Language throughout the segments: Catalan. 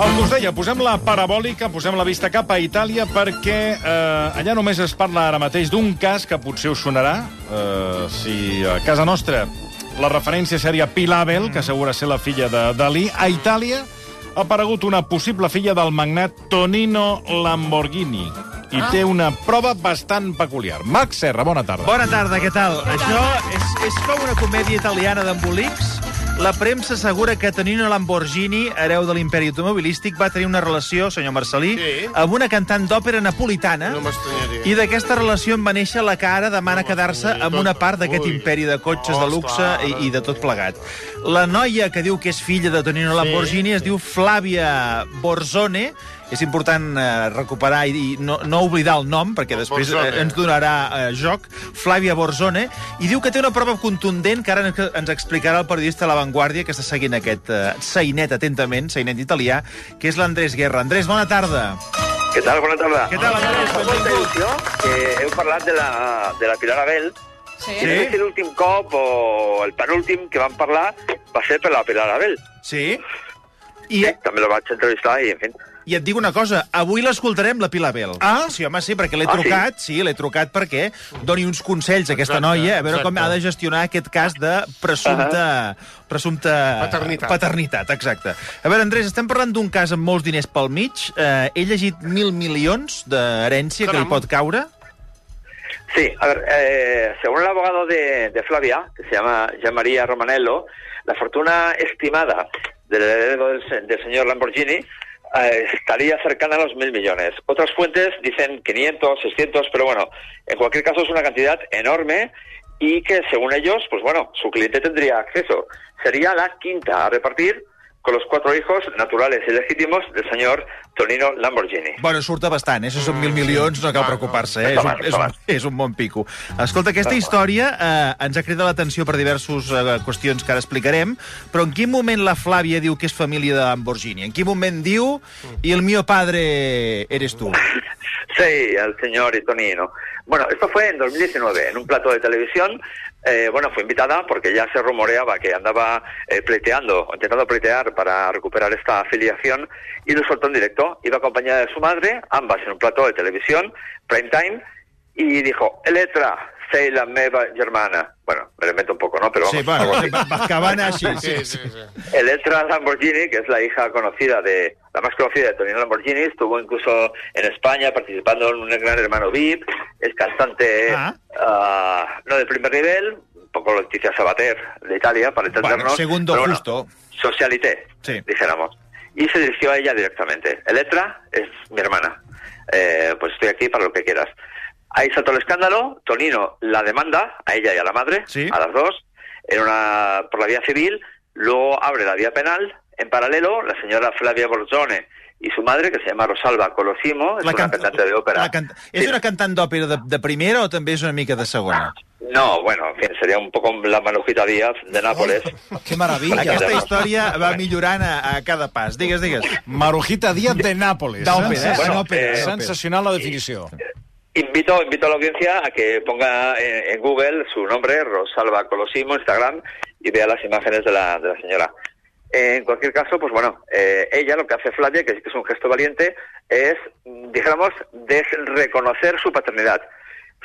El que us deia, posem la parabòlica, posem la vista cap a Itàlia, perquè eh, allà només es parla ara mateix d'un cas que potser us sonarà. Eh, si a casa nostra la referència seria Pilabel, que assegura ser la filla de Dalí, a Itàlia ha aparegut una possible filla del magnat Tonino Lamborghini. I ah. té una prova bastant peculiar. Marc Serra, bona tarda. Bona tarda, què tal? Això és, és com una comèdia italiana d'embolics. La premsa assegura que Tonino Lamborghini, hereu de l'imperi automobilístic, va tenir una relació, senyor Marcelí, Sí. amb una cantant d'òpera napolitana. No m'estranyaria. Eh? I d'aquesta relació en va néixer la que ara demana No quedar-se m'estranyaria amb una tot. part d'aquest Ui. Oh, eh. imperi de cotxes, de luxe Ostres. i, i de tot plegat. La noia que diu que és filla de Tonino Lamborghini es diu Flavia Borzone. És important eh, recuperar i, i no, no oblidar el nom, perquè després eh, Oh, Borzone. ens donarà eh, joc. Flavia Borzone, i diu que té una prova contundent que ara ens- ens explicarà el periodista La Vanguardia, que està seguint aquest eh, sainet atentament, sainet italià, que és l'Andrés Guerra. Andrés, bona tarda. Què tal? Bona tarda. Què tal, Andrés? Em fa molta Benvingut. il·lusió que heu parlat de la, de la Pilar Abel. Sí. Sí? És l'últim cop o el penúltim que vam parlar va ser per la Pilar Abel. Sí? I, Eh? També la vaig entrevistar i, en fi... I et dic una cosa, avui l'escoltarem, la Pilar Bel. Ah? Sí, home, sí, perquè l'he Ah, sí? trucat, sí, l'he trucat perquè doni uns consells a aquesta Exacte, noia, a veure com exacte. ha de gestionar aquest cas de presumpta... presumpta... Paternitat. Paternitat, exacte. A veure, Andrés, estem parlant d'un cas amb molts diners pel mig. Eh, he llegit mil milions d'herència que Caram. li pot caure. Sí, a ver, eh, según el abogado de, de Flavia, que se llama Gian María Romanello, la fortuna estimada del heredero del, se- del señor Lamborghini eh, estaría cercana a los mil millones. Otras fuentes dicen 500, 600, pero bueno, en cualquier caso es una cantidad enorme y que según ellos, pues bueno, su cliente tendría acceso. Sería la quinta a repartir con los cuatro hijos naturales y legítimos del señor Tonino Lamborghini. Bueno, surt a bastant, eh? Si són mil milions, no cal preocupar-se, eh? És Endavant, un, és, un, és un bon pico. Escolta, aquesta història eh, ens ha cridat l'atenció per diverses eh, qüestions que ara explicarem, però en quin moment la Flàvia diu que és família de Lamborghini? En quin moment diu i el mio padre eres tu? Sí, al señor Tonino. Bueno, esto fue en 2019, en un plato de televisión. Eh, bueno, fue invitada porque ya se rumoreaba que andaba eh, pleiteando, intentando pleitear para recuperar esta afiliación y lo soltó en directo. Iba acompañada de su madre, ambas en un plato de televisión, prime time, y dijo, Eletra, sei la meva germana. Bueno, me lo meto un poco, ¿no? Pero vamos, Sí, bueno, algo sí, así. va, va, que va anar així. Sí, Sí, sí, sí. Electra Lamborghini, que es la hija conocida de, la más conocida de Tonino Lamborghini, estuvo incluso en España participando en un gran hermano VIP, es cantante Ah. ah, no de primer nivel, un poco Leticia Sabater de Italia, para Bueno, entendernos. segundo pero bueno, justo. Socialité, Sí. dijéramos. Y se dirigió a ella directamente. Electra es mi hermana. Eh, pues estoy aquí para lo que quieras. Ahí saltó el escándalo. Tonino la demanda a ella y a la madre, Sí. a las dos, en una, por la vía civil. Luego abre la vía penal. En paralelo, la señora Flavia Borzone y su madre, que se llama Rosalba Colosimo, es una can- cantante de ópera. la can... És Sí. una cantant d'òpera de, de primera o també és una mica de segona? No, bueno, en fin, sería un poco la Manujita Díaz de Nápoles. Que meravella. Aquesta història va millorant a, a cada pas. Digues, digues. Marujita Díaz de Nàpoles. D'òpera, eh? Sensacional. D'òpera, eh? Sensacional la definició. Invito, invito a la audiencia a que ponga eh, en, en Google su nombre, Rosalba Colosimo, Instagram, y vea las imágenes de la, de la señora. Eh, En cualquier caso, pues bueno, eh, ella lo que hace Flavia, que sí que es un gesto valiente, es, mm, dijéramos, desreconocer su paternidad.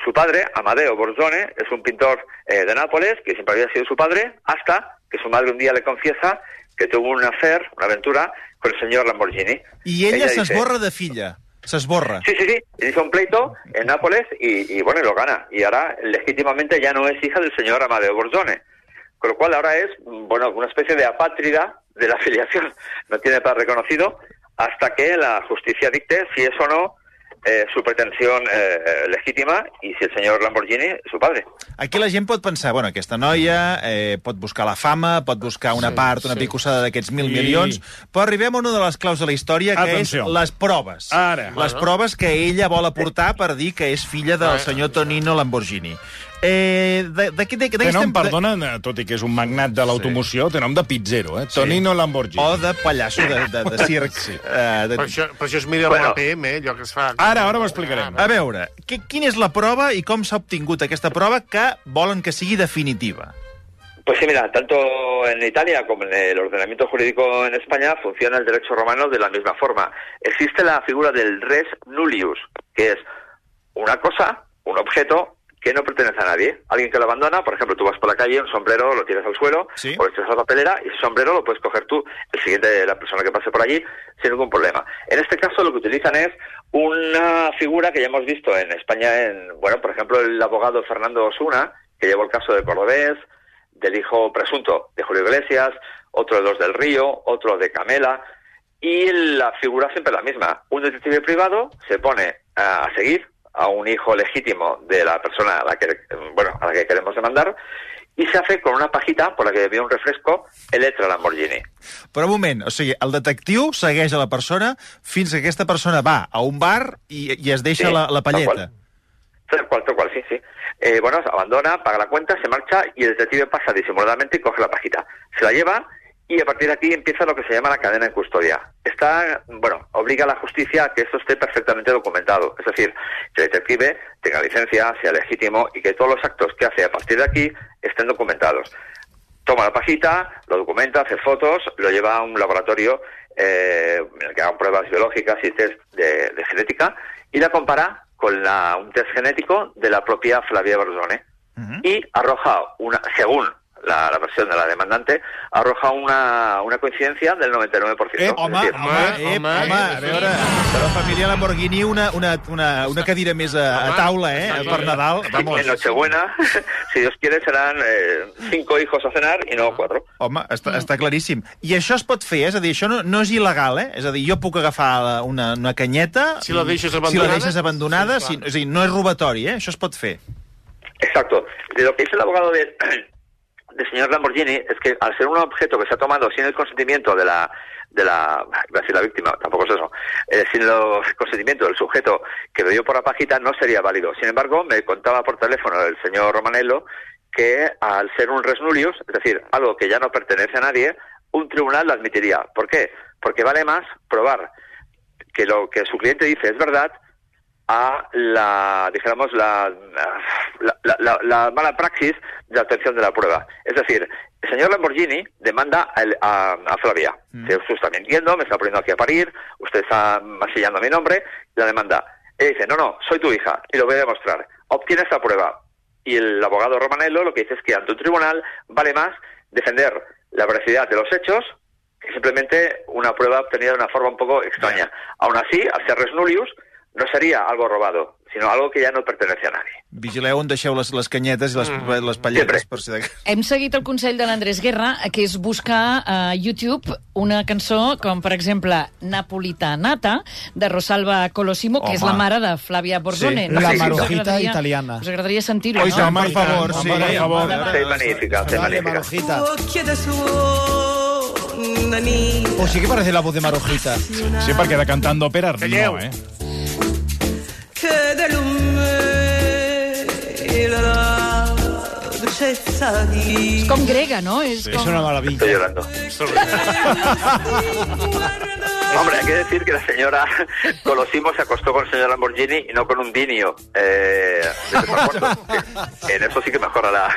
Su padre, Amadeo Borzone, es un pintor eh, de Nápoles, que siempre había sido su padre, hasta que su madre un día le confiesa que tuvo un hacer, una aventura, con el señor Lamborghini. I ella dice, s'esborra de filla. S'esborra. Sí, sí, sí. Hizo un pleito en Nápoles y, y, bueno, y lo gana. Y ahora legítimamente ya no es hija del señor Amadeo Borzone. Con lo cual ahora es, mm, bueno, una especie de apátrida de la afiliación. No tiene para reconocido hasta que la justicia dicte si es o no eh, su pretensión eh, legítima y si el señor Lamborghini es su padre. Aquí la gent pot pensar, bueno, aquesta noia eh, pot buscar la fama, pot buscar una Sí, sí, part, una sí. sí. picossada d'aquests mil I- I... milions, però arribem a una de les claus de la història, que Atenció. és les proves. Ara. Les proves que ella vol aportar per dir que és filla del Bueno. senyor Tonino Lamborghini. Eh, de, de, de, de, Té nom, estem- perdona, eh, tot i que és un magnat de l'automoció, té nom de pizzero, eh? Tonino Lamborghini. O Oh, de pallasso de, de, de circ. Sí. Eh, de... Però, això, però això és millor Bueno. bueno. l'APM, eh, allò que es fa... Ara, ara ho explicarem. A veure, que, quina és la prova i com s'ha obtingut aquesta prova que volen que sigui definitiva? Pues sí, mira, tanto en Italia como en el ordenamiento jurídico en España funciona el derecho romano de la misma forma. Existe la figura del res nullius, que es una cosa, un objeto que no pertenece a nadie. Alguien que lo abandona, por ejemplo, tú vas por la calle, un sombrero lo tiras al suelo Sí. o lo echas a la papelera y ese sombrero lo puedes coger tú, el siguiente, la persona que pase por allí, sin ningún problema. En este caso lo que utilizan es una figura que ya hemos visto en España, en, bueno, por ejemplo, el abogado Fernando Osuna, que llevó el caso de Cordobés, del hijo presunto de Julio Iglesias, otro de los del Río, otro de Camela, y la figura siempre es la misma. Un detective privado se pone a seguir a un hijo legítimo de la persona a la que, bueno, a la que queremos demandar y se hace con una pajita por la que bebía un refresco Electra Lamborghini. Però un moment, o sigui, el detectiu segueix a la persona fins que aquesta persona va a un bar i, i es deixa Sí, la, la tal palleta. qual. Tal cual, tal cual, sí, sí. Eh, bueno, abandona, paga la cuenta, se marcha y el detective pasa disimuladamente y coge la pajita. Se la lleva y a partir de aquí empieza lo que se llama la cadena en custodia. Está, bueno, obliga a la justicia a que esto esté perfectamente documentado. Es decir, que el detective tenga licencia, sea legítimo y que todos los actos que hace a partir de aquí estén documentados. Toma la pajita, lo documenta, hace fotos, lo lleva a un laboratorio eh, en el que hagan pruebas biológicas y test de, de genética y la compara con la- un test genético de la propia Flavia Berzone. Y arroja, una, según la, la versión de la demandante, arroja una, una coincidencia del 99%. Eh, Es home, decir, home, eh, home, home, home, a eh, veure, la família Lamborghini, una, una, una, una cadira més a, a Home, taula, eh, està per clar. Nadal. Vamos. en Nochebuena, si Dios quiere, serán eh, cinco hijos a cenar y Ah. no cuatro. Home, està, està claríssim. I això es pot fer, eh? és a dir, això no, no és il·legal, eh? És a dir, jo puc agafar la- una, una canyeta... Si la deixes Si la abandonada. deixes abandonada, Sí, sí, clar. si, és a dir, no és robatori, eh? Això es pot fer. Exacto. De lo que dice el abogado de, del señor Lamborghini es que al ser un objeto que se ha tomado sin el consentimiento de la de la, iba a decir la víctima, tampoco es eso, eh, sin los consentimiento del sujeto que me dio por la pajita no sería válido. Sin embargo, me contaba por teléfono el señor Romanello que al ser un res nullius, es decir, algo que ya no pertenece a nadie, un tribunal lo admitiría. ¿Por qué? Porque vale más probar que lo que su cliente dice es verdad a la, dijéramos, la, la, la- la- la mala praxis de obtención de la prueba. Es decir, el señor Lamborghini demanda a, el- a- a Flavia. Que usted está mintiendo, me está poniendo aquí a parir, usted está masillando mi nombre, la demanda. Él dice, no, no, soy tu hija y lo voy a demostrar. Obtiene esta prueba. Y el abogado Romanello lo que dice es que ante un tribunal vale más defender la veracidad de los hechos que simplemente una prueba obtenida de una forma un poco extraña. Aún así, al ser res nullius, no sería algo robado, sino algo que ya no pertenece a nadie. Vigileu on deixeu les, les canyetes i les, Mm. les Sempre. palletes, per si de... Hem seguit el consell de l'Andrés Guerra, que és buscar a YouTube una cançó com, per exemple, Napolitanata, de Rosalba Colosimo, que Home. és la mare de Flavia Sí. Borzone. sé La si us marujita agradaria- italiana. Us agradaria sentir-ho, Oi, no? home, per favor, sí. Home, per favor. Sí, magnífica, sí, Dale, magnífica. Marujita. Occhi da suo nani. O sí que parece la voz de Marujita. Sí, perquè de cantant d'òperes no, Calleu. eh? Che da lume e la dolcezza di Com grega, no? És Es com... una Estoy maravilla. llorando. guarda. Hombre, hay que decir que la señora Colosimo se acostó con el señor Lamborghini y no con un dinio. Eh, de tres a cuatro. Sí, en eso sí que mejora la,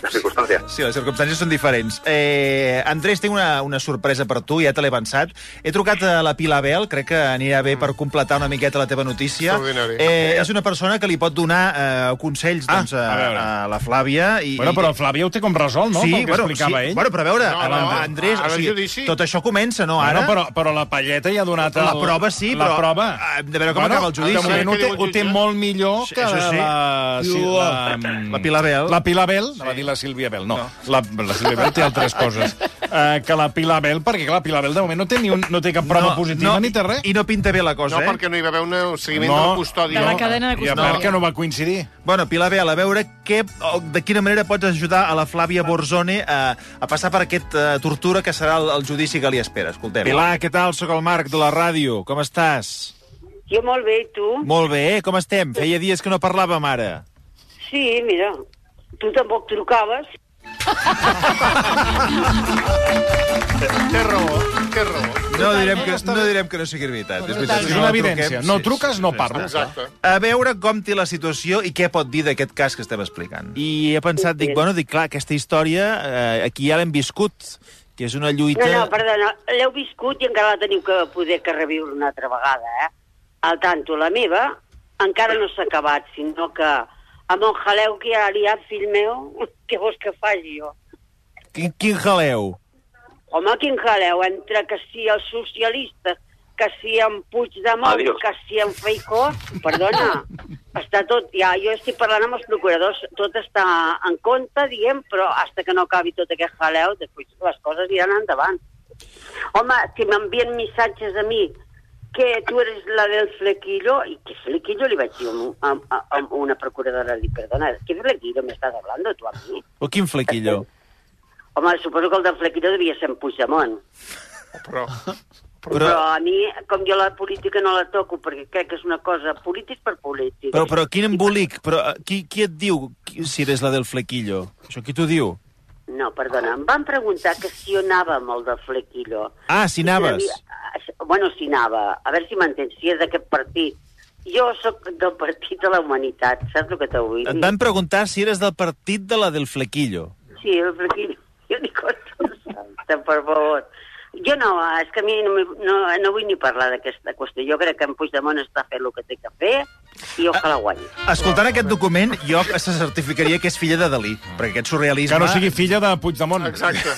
la circunstancia. Sí, les circumstàncies són diferents. Eh, Andrés, tinc una, una sorpresa per tu, ja te l'he avançat. He trucat a la Pilar Bel, crec que anirà bé per completar una miqueta la teva notícia. Mm. Extraordinari. Eh, és una persona que li pot donar eh, consells Ah, doncs, a, a veure. a, la Flàvia. I, Bueno, però Flàvia ho té com resolt, no? Pel que explicava ell. Bueno, però a veure, No, no, no, Andrés, ara o el sigui, judici. tot això comença, no, Ara? ara? No, però, però la palleta ja ha donat... La el- prova sí, la però, prova. eh, de veure com acaba el judici. De moment ho Què té, diu el ho té jutge? molt millor Sí, que això sí. la, sí, Diu, ah, la, la Pilar Bel. La Pilar Bel, sí. va dir la Sílvia Bel. No, La, la Sílvia Bel té altres coses. Uh, que la Pilar Bel, perquè clar, la Pilar Bel de moment no té, ni un, no té cap prova no, positiva no, ni té res. I no pinta bé la cosa, No, eh? perquè no hi va haver un un seguiment No. de la custòdia. De la cadena I de a part que custòdia. no va coincidir. Bueno, Pilar Bel, a veure què, o de quina manera pots ajudar a la Flàvia Borzone a, a passar per aquest uh, tortura que serà el, el judici que li espera. Escoltem. Pilar, què tal? Sóc el Marc de la ràdio. Com estàs? Jo molt bé, i tu? Molt bé, eh? Com estem? Feia dies que no parlàvem ara. Sí, mira, tu tampoc trucaves. Té raó, té raó. No, No direm, que, Totalment. no direm que no sigui veritat. És, veritat, És si no una la truquem, evidència. sí, No sí, truques, sí, no sí, parles. Exacte. està. A veure com té la situació i què pot dir d'aquest cas que estem explicant. I he pensat, dic, bueno, dic, clar, aquesta història eh, aquí ja l'hem viscut, que és una lluita... No, no, perdona, l'heu viscut i encara la teniu que poder que reviure una altra vegada, eh? Al tanto, la meva encara no s'ha acabat, sinó que amb el jaleu que hi ha aliat, fill meu, què vols que faci jo? Quin, quin jaleu? Home, quin jaleu, entre que si els socialistes, que si en Puigdemont, Adiós. que si en Feicó... Perdona, està tot... Ja, jo estic parlant amb els procuradors, tot està en compte, diguem, però hasta que no acabi tot aquest jaleu, després les coses iran endavant. Home, si m'envien missatges a mi que tu eres la del flequillo, i que flequillo li vaig dir a, un- a, a, a una procuradora, li perdona, que flequillo m'estàs hablando tu a mi? O quin flequillo? Home, suposo que el del flequillo devia ser en Puigdemont. Però, Però... però a mi, com jo la política no la toco, perquè crec que és una cosa polític per polític. Però, però quin embolic? Però, eh, qui, qui et diu qui- si eres la del flequillo? Això qui t'ho diu? No, perdona, em van preguntar que si jo anava amb el de Flequillo. Ah, si anaves. I si havia- Bueno, si anava. A veure si m'entens, si és d'aquest partit. Jo sóc del partit de la humanitat, saps el que t'ho vull Et dir? van preguntar si eres del partit de la del flequillo. Sí, el Flequillo. Jo dic, "Hosta, per favor. Jo no, és que a mi no, m'hi- no, no vull ni parlar d'aquesta qüestió. Jo crec que en Puigdemont està fent el que té que fer i ojalà Ah. guanyi. Escoltant aquest document, jo se certificaria que és filla de Dalí, perquè aquest surrealisme... Que no sigui filla de Puigdemont. exacte.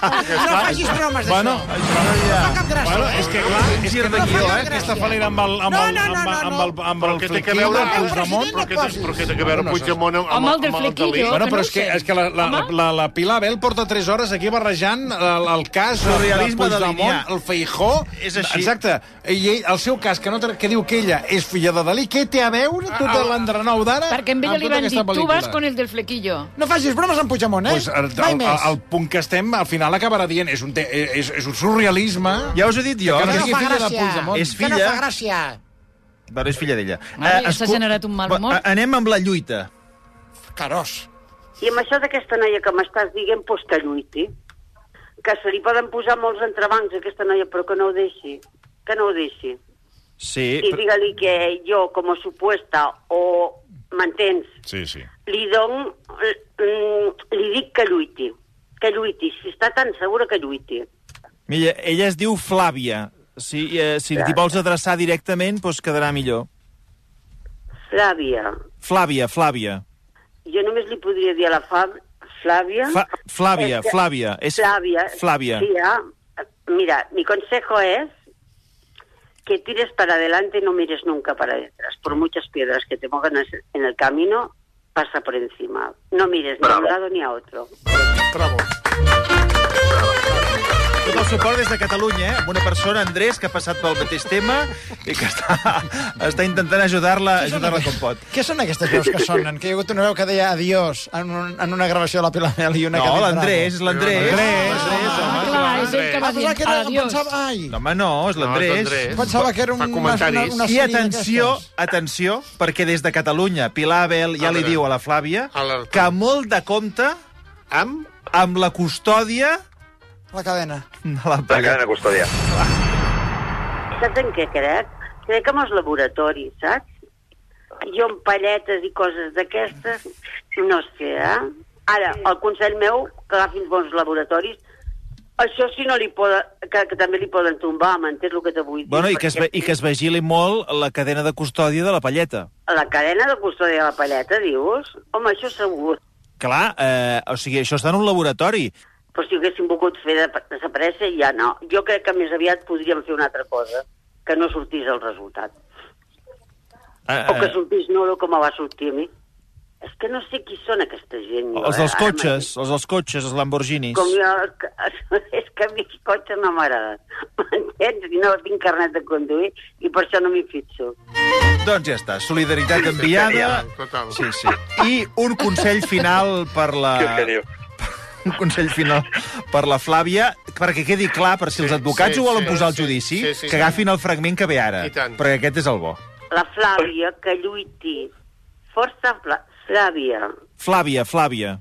No facis bromes d'això. Bueno, no fa cap gràcia. Bueno, és que clar, és que gir de no guió, fa eh? aquesta falera amb el, amb el, No, no, amb, no, amb, no, amb, no. el, amb el Però què té que flequillo veure de amb Puigdemont. Però què té, però què té que veure Puigdemont amb, Home, el del amb flequillo. Dalí? Bueno, Oh, Que però no és ho que, sé. és que la, la, la, Home. la, la Pilar Abel porta 3 hores aquí barrejant el, el cas de Surrealisme de Puigdemont, Damià. el Feijó. És així. Exacte. I ell, el seu cas, que, no, tra- que diu que ella és filla de Dalí, què té a veure tot l'entrenou d'ara Ah, Perquè amb ella li tota van dir, aquesta tu vas pel·lícula?" con el del flequillo. No facis bromes amb Puigdemont, eh? Pues el, Mai el, el, més. el punt que estem, al final acabarà dient és un, te, eh, és, és un surrealisme... Ja us he dit jo. Que no Que no sigui fa filla de gràcia. Puigdemont. És Que no filla. fa gràcia. Bueno, és filla d'ella. Mare, Eh, s'ha escol- generat un mal humor. Va, a- Anem amb la lluita. Carós. I amb això d'aquesta noia que m'estàs dient, doncs que lluiti. Que se li poden posar molts entrebancs a aquesta noia, però que no ho deixi. Que no ho deixi. Sí, I però, digue-li que jo, com a supuesta, o m'entens, Sí, sí. li don... mm, Li dic que lluiti. Que lluiti. Si està tan segura que lluiti. mira, ella es diu Flàvia. Si, eh, si t'hi vols adreçar directament, doncs quedarà millor. Flàvia. Flàvia, Flàvia. Jo només li podria dir a la Fab... Flàvia... Fa, Flàvia, Doncs És que- Flàvia. És Flavia. Flàvia. Sí, ah. Mira, mi consejo es que tires para adelante y no mires nunca para detrás. Por muchas piedras que te pongan en el camino, pasa por encima. No mires ni a un lado ni a otro. Bravo. Tot el suport des de Catalunya, eh? Amb una persona, Andrés, que ha passat pel mateix tema i que està, està intentant ajudar-la ajudar com pot. Què són aquestes veus que sonen? Que hi ha hagut una veu que deia adiós en, un, en una gravació de la Pilar Mel i una No, que deia l'Andrés, bravo. és l'Andrés. Andrés. L'Andrés, Ah, home. clar, és ell que va Ah, dir, pensava que era, adiós. pensava, ai, No, home, no, és No, és l'Andrés. l'Andrés. pensava que era un, Fa comentaris. I atenció, atenció, perquè des de Catalunya, Pilar Abel ja A li veure. diu a la Flàvia Alerta. que molt de compte Amb... amb la custòdia d'aquestes. La cadena. de la La paga. cadena custodial. Saps en què crec? Crec que amb els laboratoris, saps? Jo amb palletes i coses d'aquestes, no sé, eh? Ara, el consell meu, que agafin bons laboratoris, això sí no li poden, que, que també li poden tombar, m'entens el que te vull dir? Bueno, i que, es, ve- Perquè i que es vigili molt la cadena de custòdia de la palleta. La cadena de custòdia de la palleta, dius? Home, això segur. Clar, eh, o sigui, això està en un laboratori. Però si ho haguéssim volgut fer de- desaparèixer, ja no. Jo crec que més aviat podríem fer una altra cosa, que no sortís el resultat. Eh, O que eh, sortís Noro com em va sortir a mi. És que no sé qui són aquesta gent. eh, els dels Ara cotxes, els dels cotxes, els mateix, Lamborghinis. Com jo, que- és que a mi els cotxes no m'agraden. M'entens? I No tinc carnet de conduir i per això no m'hi fixo. Doncs ja està, solidaritat enviada. Total. Sí, sí. I un consell final per la... Què és que diu? Un consell final per la Flàvia, perquè quedi clar per si Sí, els advocats sí, ho volen sí, posar al sí, judici, sí, sí, que sí. agafin el fragment que ve ara, I tant. perquè aquest és el bo. La Flàvia, que lluiti. Força Fla- Flàvia. Flàvia, Flàvia.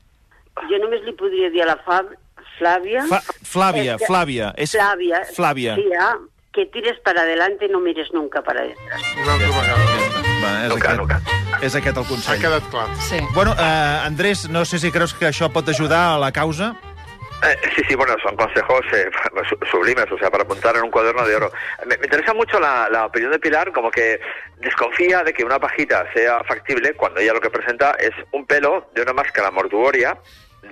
Jo només li podria dir a la Fab... Flàvia... Fa, Flavia, Es que- Flavia. És Flavia. Flavia. Tía, ah, que tires para adelante y no mires nunca para detrás. Una altra vegada. Va, és, No aquest, cal, no cal. és aquest el Ha consell. quedat clar. Sí. Bueno, eh, Andrés, no sé si creus que això pot ajudar a la causa. Eh, sí, sí, bueno, son consejos eh, su- sublimes, o sea, para apuntar en un cuaderno de oro. Me, me interesa mucho la, la opinión de Pilar, como que desconfía de que una pajita sea factible cuando ella lo que presenta es un pelo de una máscara mortuoria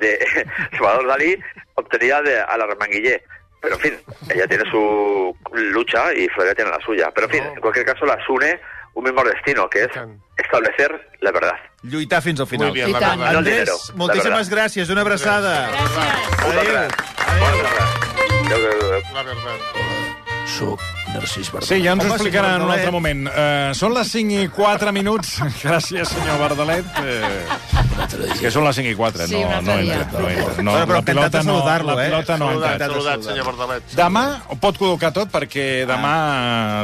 de Salvador Dalí obtenida de, a la remanguillé. Pero, en fin, ella tiene su lucha y Flavia tiene la suya. Pero, en fin, en cualquier caso, las une un mismo destino, que es establecer la verdad. Lluitar fins al final. Muy bien, I la tant. verdad. Andrés, Dinero, la moltíssimes verdad. gràcies. Una abraçada. Gràcies. Un Adéu. abrazo. Un abrazo. Adéu, adéu, adéu. La verdad. Sí, ja ens ho Home, explicarà senyor en un altre Bardalet. moment. Uh, són les 5 i 4 minuts. Gràcies, senyor Bardalet. Uh, que són les 5 i 4, Sí, no, un altre no dia. entra. No entra. No, Bueno, però la pilota encantat de no, saludar-lo, la eh? pilota no Saludat. entra. Saludat, saludat, senyor Bardalet. Demà ho pot col·locar tot perquè demà,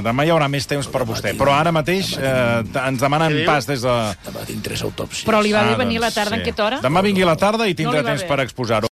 demà hi haurà més temps per vostè. Però ara mateix eh, t- ens demanen pas des de... Però li va Ah, bé venir doncs, la tarda, en sí. què hora? Demà vingui a la tarda i No tindrà li va temps bé. per exposar-ho.